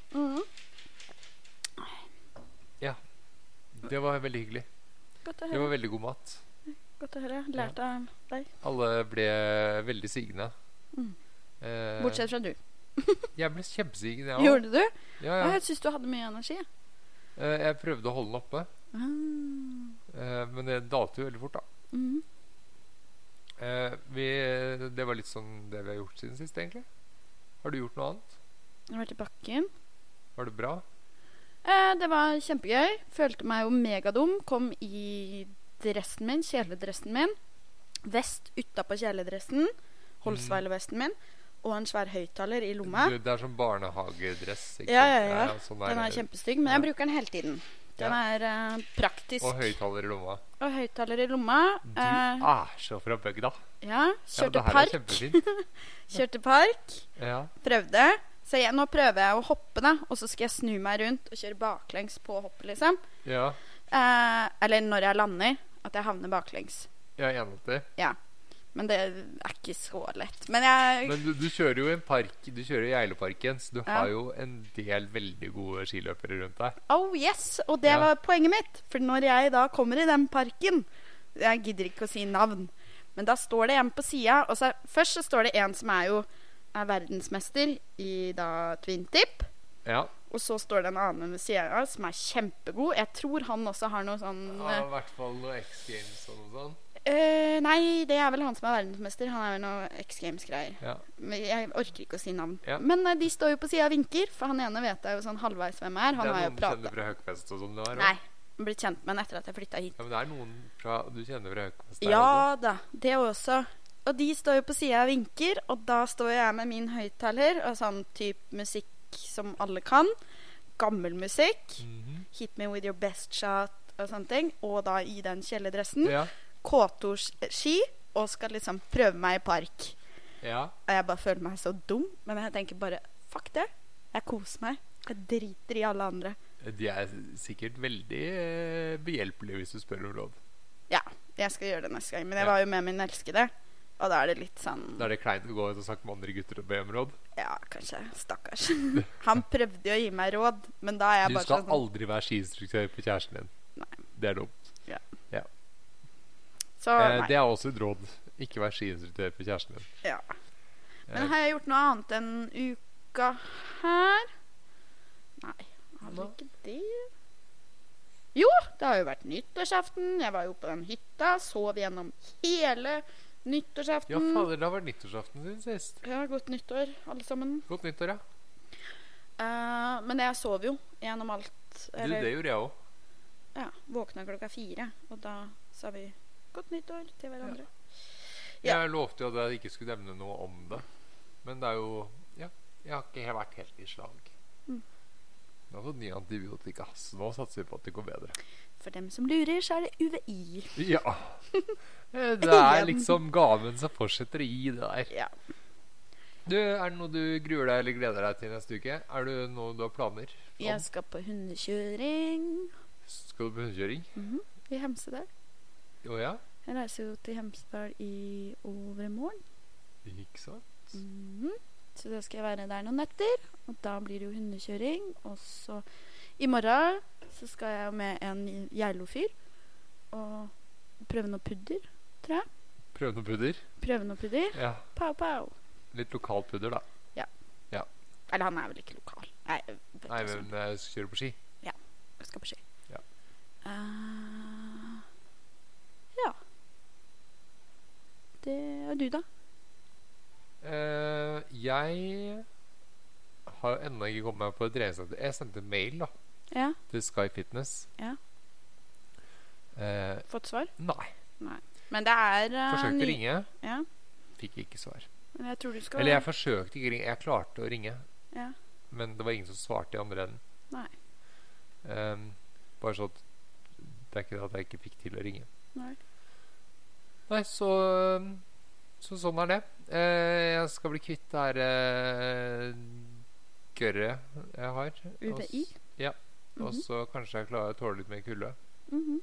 Speaker 1: Det var veldig hyggelig.
Speaker 2: Godt å
Speaker 1: Det var
Speaker 2: høre.
Speaker 1: veldig god mat.
Speaker 2: Godt å høre. Lærte av deg.
Speaker 1: Alle ble veldig signe.
Speaker 2: Mm.
Speaker 1: Eh,
Speaker 2: Bortsett fra du.
Speaker 1: Jeg ble kjempesigen, jeg òg.
Speaker 2: Gjorde du?
Speaker 1: Ja, ja.
Speaker 2: Å, Jeg syns du hadde mye energi.
Speaker 1: Eh, Jeg prøvde å holde den oppe,
Speaker 2: Ah.
Speaker 1: eh, men det dalte jo veldig fort, da.
Speaker 2: Mm.
Speaker 1: Eh, Vi, det var litt sånn det vi har gjort siden sist, egentlig. Har du gjort noe annet?
Speaker 2: Jeg har vært i bakken.
Speaker 1: Var det bra?
Speaker 2: Eh, det var kjempegøy. Følte meg jo megadum. Kom i dressen min, kjeledressen min. Vest utapå kjeledressen. Holsweiler-vesten min. Og en svær høyttaler i lomma.
Speaker 1: Du, det er sånn barnehagedress. Ikke
Speaker 2: Ja,
Speaker 1: sant?
Speaker 2: ja, ja.
Speaker 1: sånn
Speaker 2: Den er
Speaker 1: det.
Speaker 2: kjempestygg, men jeg bruker den hele tiden. Den
Speaker 1: Ja.
Speaker 2: er eh, praktisk.
Speaker 1: Og høyttaler i lomma.
Speaker 2: Og høyttaler i lomma.
Speaker 1: Du
Speaker 2: Eh,
Speaker 1: er så fra bygda.
Speaker 2: ja,
Speaker 1: Ja,
Speaker 2: kjørte
Speaker 1: det her er
Speaker 2: park.
Speaker 1: kjempefint.
Speaker 2: Kjørte park.
Speaker 1: Ja.
Speaker 2: Prøvde. Så jeg, nå prøver jeg å hoppe, da. Og så skal jeg snu meg rundt og kjøre baklengs på hoppet, liksom.
Speaker 1: ja.
Speaker 2: Eh, eller når jeg lander, at jeg havner baklengs.
Speaker 1: Jeg er enig i det.
Speaker 2: Men det er ikke så lett. Men jeg
Speaker 1: Men du, du kjører jo i en park Du kjører i Eiloparken, så du
Speaker 2: Ja.
Speaker 1: har jo en del veldig gode skiløpere rundt deg.
Speaker 2: Oh yes! Og det
Speaker 1: Ja.
Speaker 2: var poenget mitt. For når jeg da kommer i den parken Jeg gidder ikke å si navn. Men da står det en på sida. Og så er- først så står det en som er jo er verdensmester i da twin tip.
Speaker 1: Ja.
Speaker 2: Og så står det en annen ved sida av som er kjempegod. Jeg tror han også har noe sånn
Speaker 1: I hvert fall noe X Games og noe sånt.
Speaker 2: eh, Nei, det er vel han som er verdensmester. Han er jo noe X Games-greier.
Speaker 1: Ja.
Speaker 2: Men Jeg orker ikke å si navn.
Speaker 1: Ja.
Speaker 2: Men eh, de står jo på sida og vinker, for han ene vet jeg jo sånn halvveis hvem er. Han
Speaker 1: det
Speaker 2: har
Speaker 1: er
Speaker 2: jo
Speaker 1: noen du
Speaker 2: prata.
Speaker 1: kjenner fra Høgfest og sånn? det var,
Speaker 2: Nei.
Speaker 1: også.
Speaker 2: Blitt kjent med han etter at jeg flytta hit.
Speaker 1: Ja, men det er noen fra, du kjenner fra Høgfest? der også.
Speaker 2: Ja da, det også. Og de står jo på sida og vinker, og da står jeg med min høyttaler og sånn type musikk som alle kan. Gammel musikk.
Speaker 1: Mhm.
Speaker 2: 'Hit me with your best shot' og sånne ting. Og da i den kjeledressen.
Speaker 1: ja.
Speaker 2: K2-ski. Og skal liksom prøve meg i park.
Speaker 1: ja.
Speaker 2: Og jeg bare føler meg så dum, men jeg tenker bare fuck det. Jeg koser meg. Jeg driter i alle andre.
Speaker 1: De er sikkert veldig eh, behjelpelige hvis du spør om råd.
Speaker 2: Jeg skal gjøre det neste gang. Men jeg
Speaker 1: Ja.
Speaker 2: var jo med min elskede, og da er det litt sånn
Speaker 1: Da er det kleint å gå ut og snakke med andre gutter og be om råd.
Speaker 2: Ja, kanskje. Stakkars. Han prøvde jo å gi meg råd, men da er jeg
Speaker 1: Du
Speaker 2: bare
Speaker 1: skal
Speaker 2: sånn
Speaker 1: aldri være skiinstruktør på kjæresten din.
Speaker 2: Nei.
Speaker 1: Det er dumt.
Speaker 2: Så
Speaker 1: Eh,
Speaker 2: nei.
Speaker 1: det er også et råd. Ikke vær skiinstruktør på kjæresten din.
Speaker 2: Ja.
Speaker 1: Eh,
Speaker 2: Men har jeg gjort noe annet enn uka her? Nei, har vel
Speaker 1: Hva?
Speaker 2: ikke det Jo, det har jo vært nyttårsaften. Jeg var jo på den hytta. Sov gjennom hele
Speaker 1: Ja,
Speaker 2: nyttårsaften.
Speaker 1: fader, det har vært nyttårsaften siden sist.
Speaker 2: Ja, godt nyttår, alle sammen.
Speaker 1: Godt nyttår, ja.
Speaker 2: Eh, men jeg sov jo gjennom alt.
Speaker 1: Du, det gjorde jeg òg.
Speaker 2: Ja, våkna klokka fire, og da sa vi godt nyttår til hverandre. Ja.
Speaker 1: Jeg lovte jo at jeg ikke skulle nevne noe om det. Men det er jo Ja, jeg har ikke helt vært helt i slag.
Speaker 2: Mm.
Speaker 1: Jeg har fått ny antibiotika, så nå satser vi på at det går bedre.
Speaker 2: For dem som lurer, så er det UVI.
Speaker 1: Ja. Eh, Det er
Speaker 2: Igjen.
Speaker 1: liksom gaven som fortsetter å gi det der.
Speaker 2: Ja.
Speaker 1: Du, Er det noe du gruer deg eller gleder deg til neste uke? Er det noe du har planer? om?
Speaker 2: Jeg skal på hundekjøring
Speaker 1: Skal du på hundekjøring?
Speaker 2: i Hemsedal.
Speaker 1: Å ja?
Speaker 2: Jeg reiser jo til Hemsedal i overmorgen.
Speaker 1: Ikke sant?
Speaker 2: Mhm. Så da skal jeg være der noen netter, og da blir det jo hundekjøring. Og så i morgen så skal jeg jo med en geilofyr og prøve noe pudder.
Speaker 1: Prøve noe pudder?
Speaker 2: Prøve noe pudder.
Speaker 1: Ja.
Speaker 2: Pow, pow.
Speaker 1: Litt lokal pudder, da.
Speaker 2: Eller han er vel ikke lokal. Nei, vet du
Speaker 1: Nei,
Speaker 2: sånn.
Speaker 1: men jeg skal kjøre på ski.
Speaker 2: Jeg skal på ski.
Speaker 1: Ja.
Speaker 2: Eh, ja. Det er du, da.
Speaker 1: Eh, jeg har jo ennå ikke kommet meg på et treningssenter. Jeg sendte mail da
Speaker 2: Ja,
Speaker 1: til Sky Fitness.
Speaker 2: Ja.
Speaker 1: Eh,
Speaker 2: Fått svar?
Speaker 1: nei.
Speaker 2: Men det er eh,
Speaker 1: Forsøkte
Speaker 2: ny-
Speaker 1: å ringe,
Speaker 2: Ja,
Speaker 1: fikk ikke svar.
Speaker 2: men jeg tror du skal
Speaker 1: Eller jeg forsøkte ikke å ringe. Jeg klarte å ringe,
Speaker 2: ja.
Speaker 1: men det var ingen som svarte i andre enden.
Speaker 2: Nei.
Speaker 1: Ehm, bare så at det er ikke det at jeg ikke fikk til å ringe.
Speaker 2: Nei.
Speaker 1: Nei, så ehm, Så sånn er det. Eh, jeg skal bli kvitt det her eh, gørret jeg har. og s-
Speaker 2: UVI?
Speaker 1: Ja. Og
Speaker 2: Mhm,
Speaker 1: så kanskje jeg klarer å tåle litt mer kulde.
Speaker 2: mhm.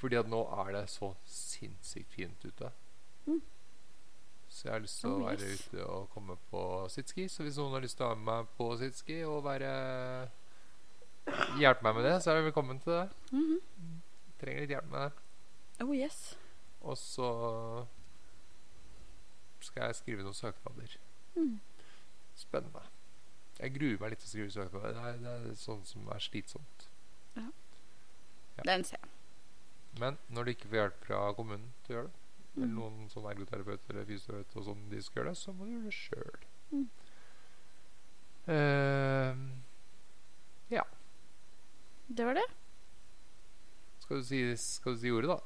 Speaker 1: Fordi at nå er det så sinnssykt fint ute.
Speaker 2: Mm.
Speaker 1: Så jeg har lyst til å
Speaker 2: Oh,
Speaker 1: være
Speaker 2: yes.
Speaker 1: ute og komme på sitski. Så hvis noen har lyst til å ha med meg på sitski og være hjelpe meg med det, så er du velkommen til det.
Speaker 2: Mhm.
Speaker 1: Trenger litt hjelp med det.
Speaker 2: Oh yes.
Speaker 1: Og så skal jeg skrive noen søknader.
Speaker 2: Mm.
Speaker 1: Spennende. Jeg gruer meg litt til å skrive søknader. Det er, det er sånn som er slitsomt.
Speaker 2: Den ser jeg.
Speaker 1: Men når du ikke får hjelp fra kommunen til å gjøre det, eller
Speaker 2: Mhm.
Speaker 1: noen sånn ergoterapeut eller fysioterapeut og sånn de skal gjøre det, så må du gjøre det sjøl.
Speaker 2: Mm. Det var det.
Speaker 1: Eh,
Speaker 2: Mhm.
Speaker 1: skal, du si, skal du si ordet, da?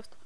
Speaker 2: Tøft.